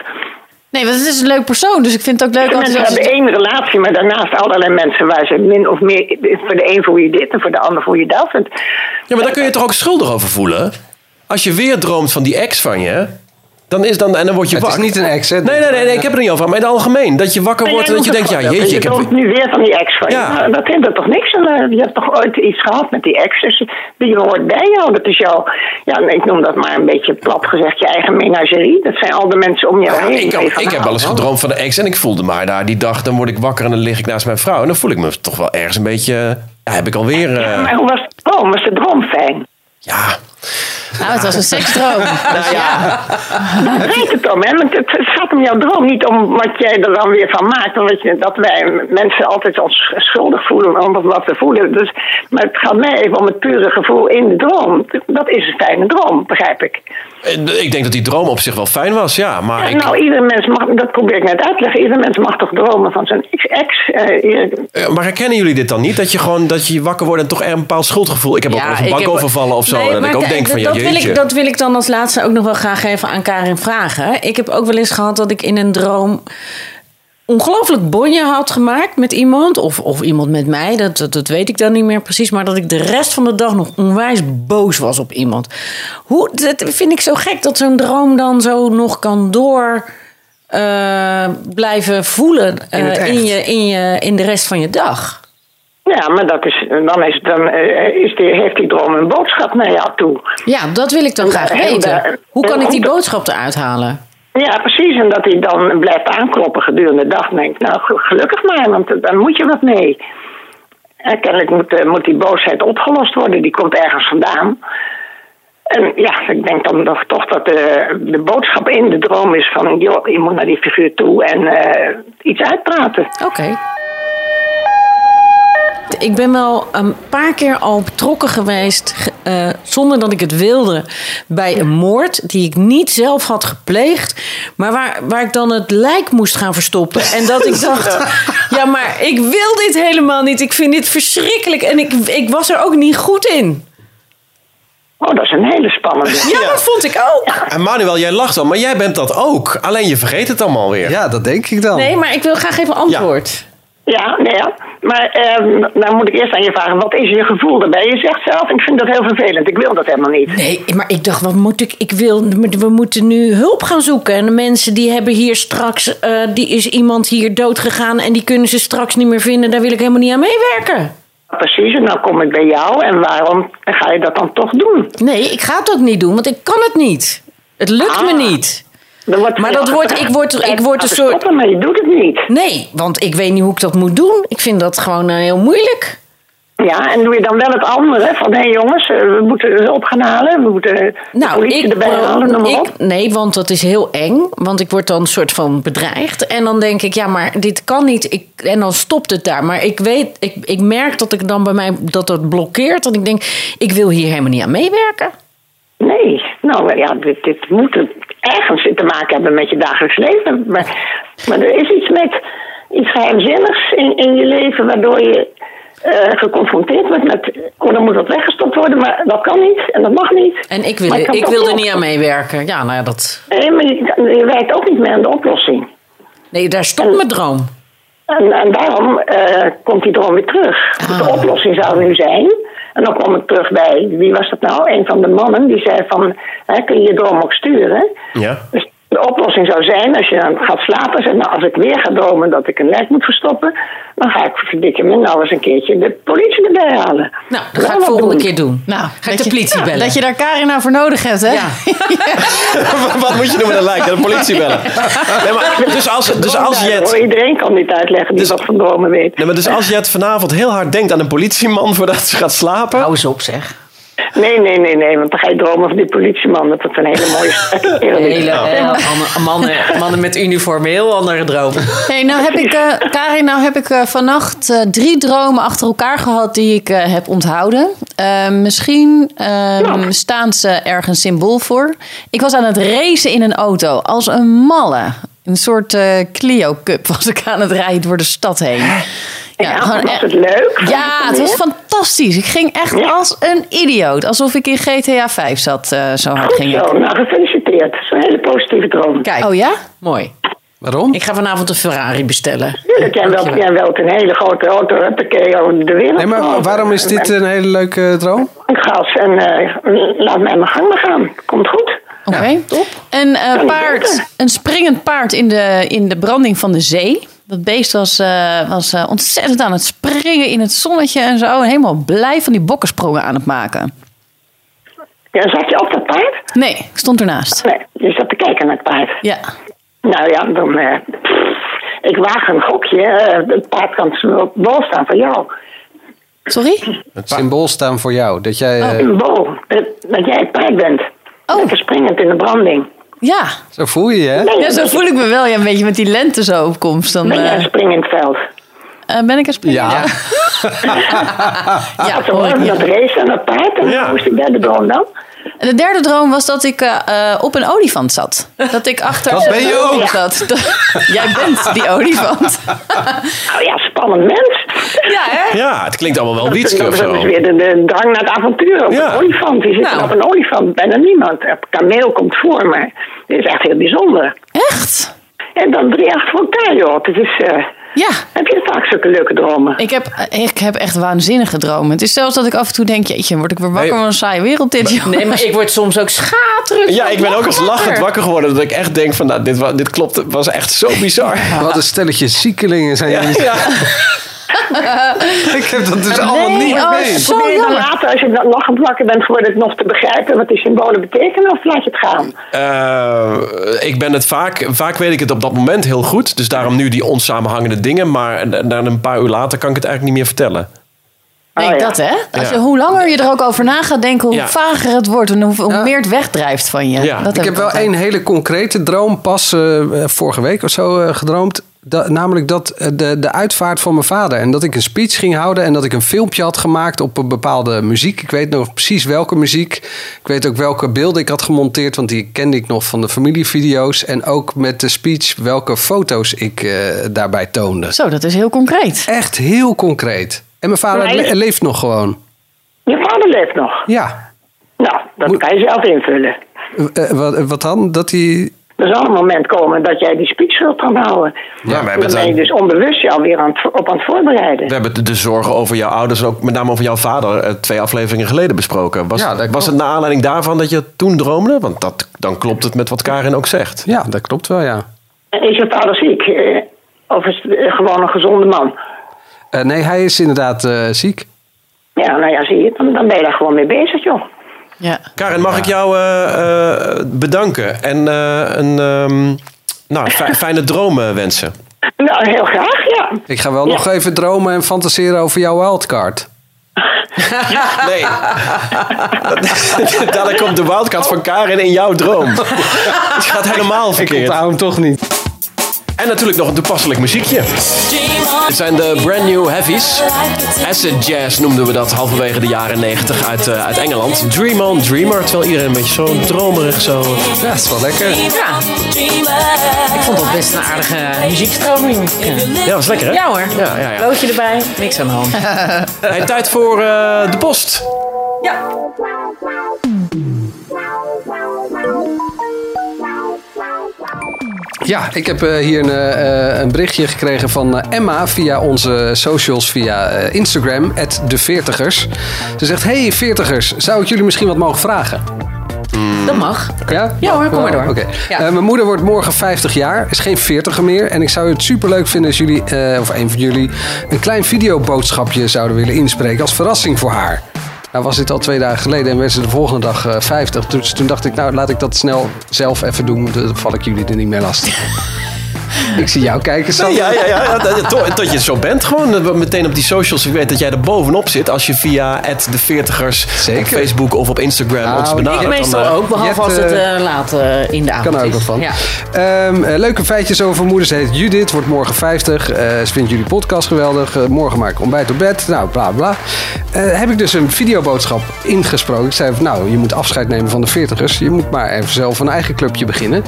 E: Nee, want het is een leuk persoon. Dus ik vind het ook leuk altijd
I: mensen
E: als
I: hebben
E: het...
I: één relatie, maar daarnaast allerlei mensen waar ze min of meer. Voor de een voel je dit en voor de ander voel je dat. En,
D: Ja, maar daar kun je toch ook schuldig over voelen? Als je weer droomt van die ex van je, dan, is dan, en dan word je
F: Het is
D: wakker.
F: niet een ex, hè?
D: Nee, nee, nee, nee, ik heb er niet over. Maar in het algemeen, dat je wakker wordt en dat je denkt, ja, jeetje,
I: Je
D: ik heb...
I: droomt nu weer van die ex van je.
D: Ja.
I: Nou, dat hindert toch niks? En, eh, je hebt toch ooit iets gehad met die ex? Dus die hoort bij jou. Dat is jouw. Ja, ik noem dat maar een beetje plat gezegd, je eigen menagerie. Dat zijn al de mensen om jou
D: Ja,
I: heen.
D: ik,
I: Waar je van
D: ik heb
I: houdt.
D: wel eens gedroomd van de ex en ik voelde maar daar die dag, dan word ik wakker en dan lig ik naast mijn vrouw. En dan voel ik me toch wel ergens een beetje, ja, heb ik alweer, eh,
I: Maar hoe was de droom? Was de droom fijn?
D: ja.
E: Nou, het was een seksdroom. Dus ja.
I: Weet het om, hè? Want het, het gaat om jouw droom, niet om wat jij er dan weer van maakt. Omdat je, dat wij mensen altijd ons schuldig voelen om wat we voelen. Dus, maar het gaat mij even om het pure gevoel in de droom. Dat is een fijne droom, begrijp ik.
D: Eh, Ik denk dat die droom op zich wel fijn was, ja. Maar Ah, ik,
I: Nou, ieder mens mag, dat probeer ik net uit te leggen, ieder mens mag toch dromen van zijn ex. eh, je-
D: eh, maar herkennen jullie dit dan niet? Dat je gewoon, dat je wakker wordt en toch er een bepaald schuldgevoel... Ik heb ook wel eens een
B: ik
D: bank
B: heb-
D: overvallen of zo.
B: Nee,
D: en dat
B: maar
D: ik ook
B: kijk,
D: denk van, ja,
B: dat, wil
D: jeetje.
B: ik, dat wil ik dan als laatste ook nog wel graag even aan Karin vragen. Ik heb ook wel eens gehad dat ik in een droom ongelooflijk bonje had gemaakt met iemand. Of, of iemand met mij, dat, dat, dat weet ik dan niet meer precies. Maar dat ik de rest van de dag nog onwijs boos was op iemand. Hoe, dat vind ik zo gek dat zo'n droom dan zo nog kan door... eh, blijven voelen eh,
F: In het echt.
B: in, je, in, je, in de rest van je dag.
I: ja, maar dat is, dan, is, dan eh, is die, heeft die droom een boodschap naar jou toe.
B: Ja, dat wil ik dan graag
I: Heel
B: weten.
F: eh,
I: daar-
B: Hoe kan ik die
I: Heel-
B: boodschap eruit halen?
I: Ja, precies. En dat hij dan blijft aankloppen gedurende de dag. En denkt, nou, gel- gelukkig maar, want eh, daar moet je wat mee. En kennelijk moet, eh, moet die boosheid opgelost worden. Die komt ergens vandaan. En ja, ik denk dan nog toch dat de, de boodschap in de droom is van... joh, je moet naar die figuur toe en eh, iets uitpraten.
B: Oké. Ik ben wel een paar keer al betrokken geweest, ge- eh, zonder dat ik het wilde, bij een moord die ik niet zelf had gepleegd, maar waar, waar ik dan het lijk moest gaan verstoppen. En dat ik dacht, ja, maar ik wil dit helemaal niet. Ik vind dit verschrikkelijk en ik, ik was er ook niet goed in.
I: Oh, dat is een hele spannende.
B: Ja, dat vond ik ook.
D: En Manuel, jij lacht al, maar jij bent dat ook. Alleen je vergeet het allemaal weer.
F: Ja, dat denk ik dan.
B: Nee, maar ik wil graag even antwoord.
I: Ja, nee, ja. Maar eh, nou moet ik eerst aan je vragen, wat is je gevoel daarbij? Je zegt zelf, ik vind dat heel vervelend. Ik wil dat helemaal niet.
B: Nee, maar ik dacht, wat moet ik? Ik wil, we moeten nu hulp gaan zoeken. En de mensen die hebben hier straks, eh, die is iemand hier dood gegaan en die kunnen ze straks niet meer vinden. Daar wil ik helemaal niet aan meewerken.
I: Precies, en dan nou kom ik bij jou. En waarom ga je dat dan toch doen?
B: Nee, ik ga het ook niet doen, want ik kan het niet. Het lukt me
I: Ah.
B: niet.
I: Dan wordt
B: Maar dat wordt- ik word- ik word een
I: Laten
B: soort-
I: Stoppen, maar je doet het niet.
B: Nee, want ik weet niet hoe ik dat moet doen. Ik vind dat gewoon eh, heel moeilijk.
I: Ja, en doe je dan wel het andere van hé jongens, eh, we moeten hulp gaan halen, we moeten de politie erbij
B: eh,
I: halen, noem maar
B: ik-
I: op.
B: Nee, want dat is heel eng. Want ik word dan een soort van bedreigd. En dan denk ik, ja, maar dit kan niet. Ik, en dan stopt het daar. Maar ik weet, ik, ik merk dat ik dan bij mij dat dat blokkeert. En ik denk, ik wil hier helemaal niet aan meewerken.
I: Nee, nou ja, dit, dit moet ergens te maken hebben met je dagelijks leven. Maar, maar er is iets met iets geheimzinnigs in, in je leven waardoor je eh, geconfronteerd wordt met, oh dan moet dat weggestopt worden, maar dat kan niet en dat mag niet.
B: En ik
I: Maar
B: wil,
I: kan
B: ik
I: toch
B: wil er
I: wel-
B: niet aan meewerken. Ja, nou ja, dat.
I: Nee, maar je, kan- je werkt ook niet meer aan de oplossing.
B: Nee, daar stopt mijn droom.
I: En, en daarom eh, komt die droom weer terug. Dus
B: Ah.
I: De oplossing zou nu zijn. En dan kom ik terug bij, wie was dat nou? Een van de mannen die zei van, hè, kun je je droom ook sturen?
D: Ja.
I: Dus de oplossing zou zijn, als je dan gaat slapen, zeg nou, als ik weer ga dromen dat ik een lijk moet verstoppen, dan ga ik verdikken me nou eens een keertje de politie erbij halen.
B: Nou, dat ga
I: Nou,
B: ik
I: wat
B: volgende
I: doen.
B: keer doen.
E: Nou,
B: ga ik
E: dat
B: de
E: je-
B: politie
E: ja,
B: bellen.
E: Dat je daar Karin nou voor nodig hebt, hè?
B: Ja.
D: Wat moet je doen met een lijk? Ja, De politie bellen. Nee, maar, dus als, dus als
I: Nou, Hoor,
D: Jet...
I: Iedereen kan dit uitleggen die
D: Dus-
I: wat van dromen weet.
D: Nee, maar dus als Jet vanavond heel hard denkt aan een politieman voordat ze gaat slapen.
B: Hou eens op, zeg.
I: Nee, nee, nee, nee, want dan ga je dromen van die politieman. Dat het een hele mooie kerel is.
B: Hele, eh, mannen- mannen, mannen met uniform, heel andere dromen.
E: Hey, nou heb ik, eh, Karin, nou heb ik eh, vannacht eh, drie dromen achter elkaar gehad die ik eh, heb onthouden. Eh, misschien eh, staan ze ergens symbool voor. Ik was aan het racen in een auto, als een malle. Een soort eh, Clio Cup was ik aan het rijden door de stad heen.
I: Ja,
E: gewoon
I: was
E: e-
I: het leuk?
E: Ja, het was fantastisch. Ik ging echt
I: Ja.
E: als een idioot. Alsof ik in GTA 5 zat, eh, zo hard ging ik.
I: Zo, nou gefeliciteerd. Dat is een hele positieve droom.
B: Kijk,
E: Oh ja?
B: mooi.
F: Waarom?
B: Ik ga vanavond een Ferrari bestellen.
I: Tuurlijk, jij wilt, jij wilt een hele grote auto, huppakee, over de wereld.
F: Nee, maar
I: Oh,
F: waarom is dit eh,
I: met
F: een hele leuke droom?
I: Gas en eh, laat mij mijn gang maar gaan. Komt goed.
E: Oké, top. Een, eh,
I: niet
E: paard,
I: beter.
E: een springend paard in de, in de branding van de zee. Dat beest was, eh, was eh, ontzettend aan het springen in het zonnetje en zo. En helemaal blij van die bokkensprongen aan het maken.
I: Ja, zat je op dat paard?
E: Nee, ik stond ernaast.
I: Nee, je zat te kijken naar het paard.
E: Ja.
I: Nou ja, dan... eh, pff, ik waag een gokje. eh, het paard kan bol staan van jou.
E: Sorry?
F: Het symbool staan voor jou. Dat jij eh,
I: Een bol. Dat, dat jij het paard bent.
E: Oh.
I: Lekker springend in de branding.
E: Ja.
F: zo voel je je, hè?
I: Ben je,
E: ja, zo voel ik me wel. Ja, een beetje met die lente zo opkomst. Dan
I: ben jij een
E: eh,
I: springend veld?
E: eh, ben ik een springer.
F: Ja.
E: ja,
I: Zo
E: hoor ik niet.
I: dat race en dat paard. En
D: Ja.
I: hoe is die derde droom dan?
E: En de derde droom was dat ik eh, eh, op een olifant zat. Dat ik achter
F: Dat ben je
E: een
F: ook.
E: boom zat. Jij bent die olifant.
I: Nou ja, spannend mens.
E: ja, hè?
D: Ja, het klinkt allemaal wel Wietske
I: dat,
D: of
I: is- dat is
D: zo.
I: weer de, de drang naar het avontuur. Op
D: Ja.
I: een olifant. Die zit
E: Nou.
I: op een olifant. Bijna niemand. Een kameel komt voor, maar dit is echt heel bijzonder.
E: Echt?
I: En dan drie achter elkaar, joh. Het is, eh,
E: Ja.
I: heb je vaak zulke leuke dromen?
E: Ik heb, ik heb echt waanzinnige dromen. Het is zelfs dat ik af en toe denk... jeetje, word ik weer wakker
D: Nee.
E: van een saaie wereld dit joh.
B: Nee, maar ik word soms ook schaterend.
D: Ja,
B: van
D: ik ben ook eens lachend wakker geworden. Dat ik echt denk van, nou, dit, wa- dit klopt. Het was echt zo bizar.
F: Wat een stelletje ziekelingen zijn
D: Ja,
F: jullie.
D: ja.
F: Ik heb dat dus allemaal niet
E: oh,
F: mee.
E: zo
I: Probeer je dan
E: jammer.
I: later, als je dan lachend wakker bent geworden, het nog te begrijpen wat die symbolen betekenen, of laat je het gaan?
D: Eh, ik ben het vaak, vaak weet ik het op dat moment heel goed. Dus daarom nu die onsamenhangende dingen. Maar na- na een paar uur later kan ik het eigenlijk niet meer vertellen.
E: Nee,
I: Oh, ja.
E: dat hè. Als je,
D: Ja.
E: Hoe langer je er ook over na gaat denken... hoe
D: Ja.
E: vager het wordt en hoe, hoe meer het wegdrijft van je.
D: Ja.
E: Dat
D: Ik
F: Ik heb wel
E: altijd.
F: één hele concrete droom pas eh, eh, vorige week of zo eh, gedroomd. Da- namelijk dat eh, de, de uitvaart van mijn vader. En dat ik een speech ging houden. En dat ik een filmpje had gemaakt op een bepaalde muziek. Ik weet nog precies welke muziek. Ik weet ook welke beelden ik had gemonteerd. Want die kende ik nog van de familievideo's. En ook met de speech welke foto's ik eh, daarbij toonde.
E: Zo, dat is heel concreet.
F: Echt heel concreet. En mijn vader
I: Nee.
F: le- leeft nog gewoon.
I: Je vader leeft nog.
F: Ja.
I: Nou, dat
F: Moet-
I: kan je zelf invullen.
F: Eh, eh, wat, wat dan? Dat hij...
I: Er zal een moment komen dat jij die speech zult gaan houden.
D: Ja, maar we
I: dan ben je
D: hebben, het,
I: dus onbewust je alweer aan het, op aan het voorbereiden.
D: we hebben het de zorgen over jouw ouders. en Ook met name over jouw vader. eh, Twee afleveringen geleden besproken. Was,
F: Ja, dat
D: was
F: klopt.
D: het naar aanleiding daarvan dat je het toen droomde? Want dat, dan klopt het met wat Karin ook zegt.
F: Ja, dat klopt wel, ja.
I: Is je vader ziek? Eh, Of is het eh, gewoon een gezonde man?
F: Eh, nee, hij is inderdaad eh, ziek.
I: Ja, nou ja, zie je, dan, dan ben je daar gewoon mee bezig, joh.
E: Ja.
D: Karin, mag ik jou eh, eh, bedanken en eh, een ehm, nou, fi- fijne dromen wensen?
I: Nou, heel graag, ja.
F: Ik ga wel nog even dromen en fantaseren over jouw wildcard.
D: Nee. Dadelijk komt de wildcard van Karin in jouw droom. Het gaat helemaal
F: Ik
D: verkeerd.
F: onthoud hem toch niet.
D: En natuurlijk nog een toepasselijk muziekje. Dit zijn de brand new heavies. Acid jazz noemden we dat halverwege de jaren 90 uit, eh, uit Engeland. Dream on Dreamer, terwijl iedereen een beetje zo dromerig zo...
F: Ja, het is wel lekker.
B: Ja, ik vond dat best een aardige muziekstroming. Ja,
D: Ja, was lekker hè?
B: ja hoor.
D: Ja, ja, ja.
B: Loodje erbij, Eh, niks aan de hand.
D: Hey, tijd voor eh, de post.
B: Ja.
F: Ja, ik heb eh, hier een, eh, een berichtje gekregen van eh, Emma via onze socials, via eh, Instagram, de Veertigers. Ze zegt, hey Veertigers, zou ik jullie misschien wat mogen vragen?
B: Dat mag.
F: Ja?
B: Ja hoor, kom maar door.
F: Oké.
B: Ja.
F: Eh, mijn moeder wordt morgen 50 jaar, is geen 40 meer. En ik zou het superleuk vinden als jullie, eh, of een van jullie, een klein videoboodschapje zouden willen inspreken als verrassing voor haar. Nou was dit al twee dagen geleden en werd ze de volgende dag eh, 50. Dus toen dacht ik, nou laat ik dat snel zelf even doen, dan val ik jullie er niet meer lastig. ik zie jou kijken, Sam.
D: Ja, ja, ja. ja, dat- dat- dat je het zo bent gewoon. Dat we Meteen op die socials. Ik weet dat jij er bovenop zit. Als je via de 40ers op
F: Zeker.
D: Facebook of op Instagram
F: Nou,
D: ons
F: ik
D: benadert.
B: Ik
D: dan,
B: meestal
D: eh,
B: ook, behalve
F: je
B: als
F: hebt,
B: het
F: eh,
B: eh, laat eh, in de avond
F: Kan er ook
B: is.
F: wat van.
B: Ja.
F: Ehm, eh, leuke feitjes over moeder. Ze heet Judith, wordt morgen 50. Eh, ze vindt jullie podcast geweldig. Eh, morgen maak ik ontbijt op bed. Nou, bla bla. Eh, heb ik dus een videoboodschap ingesproken. Ik zei, van, nou, je moet afscheid nemen van de 40ers. Je moet maar even zelf een eigen clubje beginnen.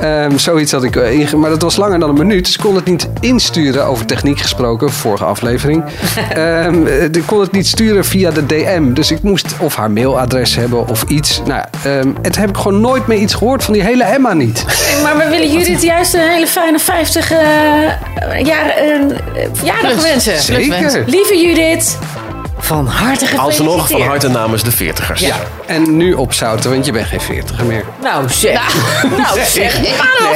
F: Ehm, zoiets had ik eh, inge... Maar dat was langer dan een minuut. Dus ik kon het niet insturen. Over techniek gesproken, vorige aflevering. Ehm, eh, ik kon het niet sturen via de DM. Dus ik moest of haar mailadres hebben of iets. Nou, ja, ehm, en toen heb ik gewoon nooit meer iets gehoord van die hele Emma niet.
H: Maar we willen Judith juist een hele fijne 50 eh jaar, eh, verjaardag wensen.
F: Zeker.
H: Lieve Judith,
B: Van harte gefeliciteerd.
D: eh, Alsnog van harte namens de 40ers.
F: Ja. En nu opzouten, want je bent geen veertiger meer.
B: Nou zeg.
H: nou zeg,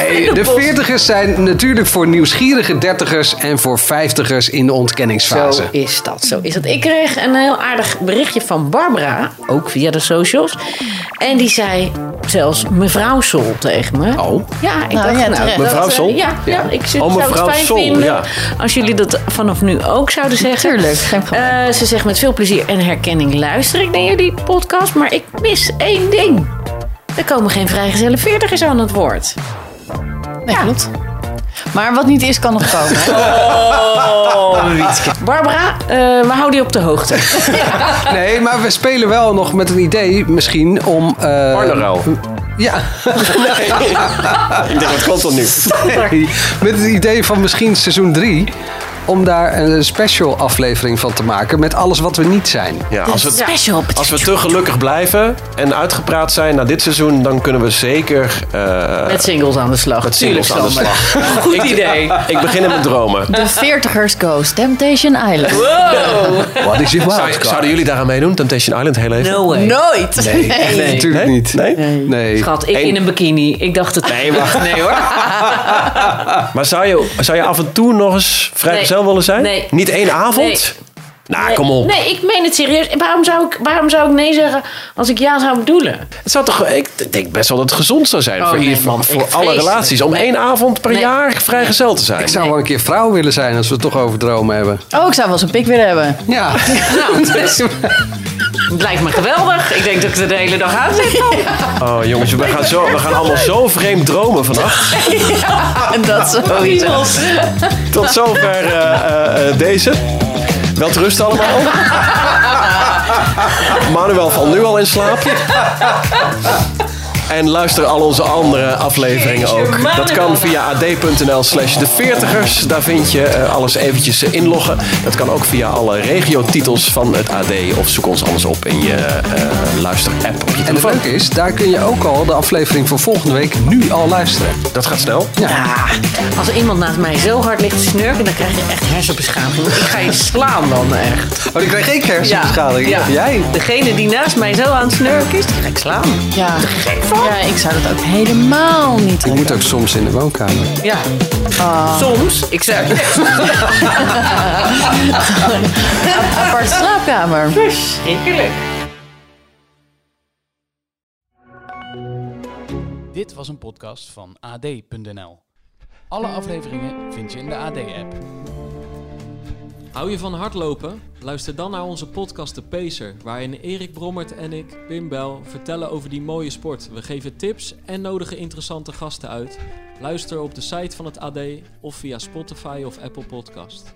F: Nee, de veertigers zijn natuurlijk voor nieuwsgierige dertigers en voor vijftigers in de ontkenningsfase.
B: Zo is dat, zo is dat. Ik kreeg een heel aardig berichtje van Barbara, ook via de socials. En die zei zelfs mevrouw Sol tegen me.
F: Oh.
B: Ja, ik
E: Nou,
B: dacht
E: ja,
B: nou,
E: terecht.
B: dat,
D: Mevrouw
B: eh,
D: Sol?
B: Ja, ja. ik zou
D: Oh,
B: zou
D: mevrouw
B: het fijn
D: Sol,
B: vinden
D: ja.
B: als jullie dat vanaf nu ook zouden zeggen.
E: Tuurlijk, geen probleem.
B: Eh, ze zegt met veel plezier en herkenning luister ik naar jullie podcast, maar ik mis één ding. Er komen geen vrijgezelle veertigers aan het woord.
E: Nee, klopt. Maar wat niet is, kan nog komen. hè?
B: Barbara, eh, we houden je op de hoogte.
F: Nee, maar we spelen wel nog met het idee misschien om... eh,
D: Barnerouw.
F: Ja,
D: Ik denk, dat komt tot nu?
F: met het idee van misschien seizoen 3... om daar een special aflevering van te maken met alles wat we niet zijn.
D: Ja, als we,
B: Special.
D: als we te gelukkig blijven en uitgepraat zijn na dit seizoen, dan kunnen we zeker eh
B: Met singles aan de slag.
D: met singles aan de
B: Sander.
D: slag. Goed idee. Ik begin in mijn dromen.
E: De veertigers Ghost, Temptation Island.
F: Wat is je
D: Zou- zouden jullie daaraan meedoen? Temptation Island heel even?
B: No way.
E: Nooit! Nee.
F: Natuurlijk
D: Nee?
F: niet.
D: Nee?
F: Nee.
B: Schat, ik
D: Eén-
B: in een bikini. Ik dacht het. Nee, wacht. Nee hoor.
D: Maar zou je, zou je af en toe nog eens vrijgezel
B: Nee.
D: willen zijn?
B: Nee.
D: Niet één avond? Nou, kom op.
B: Nee, ik meen het serieus. Waarom zou, ik, waarom zou ik nee zeggen als ik ja zou bedoelen?
D: Het zou toch, ik denk best wel dat het gezond zou zijn
B: Oh,
D: voor,
B: nee,
D: ieder,
B: man,
D: voor
B: ik
D: alle
B: vrees
D: relaties. Om één avond per
B: Nee.
D: jaar vrijgezel te zijn.
F: Ik zou wel een keer vrouw willen zijn als we het toch over dromen hebben.
E: Oh, ik zou wel eens een pik willen hebben.
F: Ja.
B: Het lijkt me geweldig. Ik denk dat ik er de hele dag aan zit.
D: Oh jongens, we gaan, zo, we gaan allemaal zo vreemd dromen vannacht.
E: En dat sowieso.
D: Tot zover eh, eh, eh, deze. Wel rust allemaal. Manuel valt nu al in slaap. En luister al onze andere afleveringen ook. Dat kan via ad.nl slash de 40ers. Daar vind je eh, alles eventjes eh, inloggen. Dat kan ook via alle regiotitels van het AD. Of zoek ons anders op in je eh, luisterapp op je
F: En het
D: telefoon.
F: leuke is, daar kun je ook al de aflevering van volgende week nu al luisteren.
D: Dat gaat snel.
B: Ja, als er iemand naast mij zo hard ligt te snurken, dan krijg je echt hersenbeschadiging. Ik ga je slaan dan echt.
F: Oh, die kreeg ik hersenbeschadiging.
B: Ja.
F: Jij?
B: Degene die naast mij zo aan het snurken is, die ga ik slaan.
E: Ja. ja, ik zou dat ook helemaal niet
F: Je
E: doen.
F: moet ook soms in de woonkamer.
B: Ja. Soms. Ik zeg.
E: Apart slaapkamer.
B: Schrikkelijk.
A: Dit was een podcast van AD.nl. Alle afleveringen vind je in de AD-app.
J: Hou je van hardlopen? Luister dan naar onze podcast De Pacer, waarin Erik Brommert en ik, Pim Bel, vertellen over die mooie sport. We geven tips en nodigen interessante gasten uit. Luister op de site van het AD of via Spotify of Apple Podcast.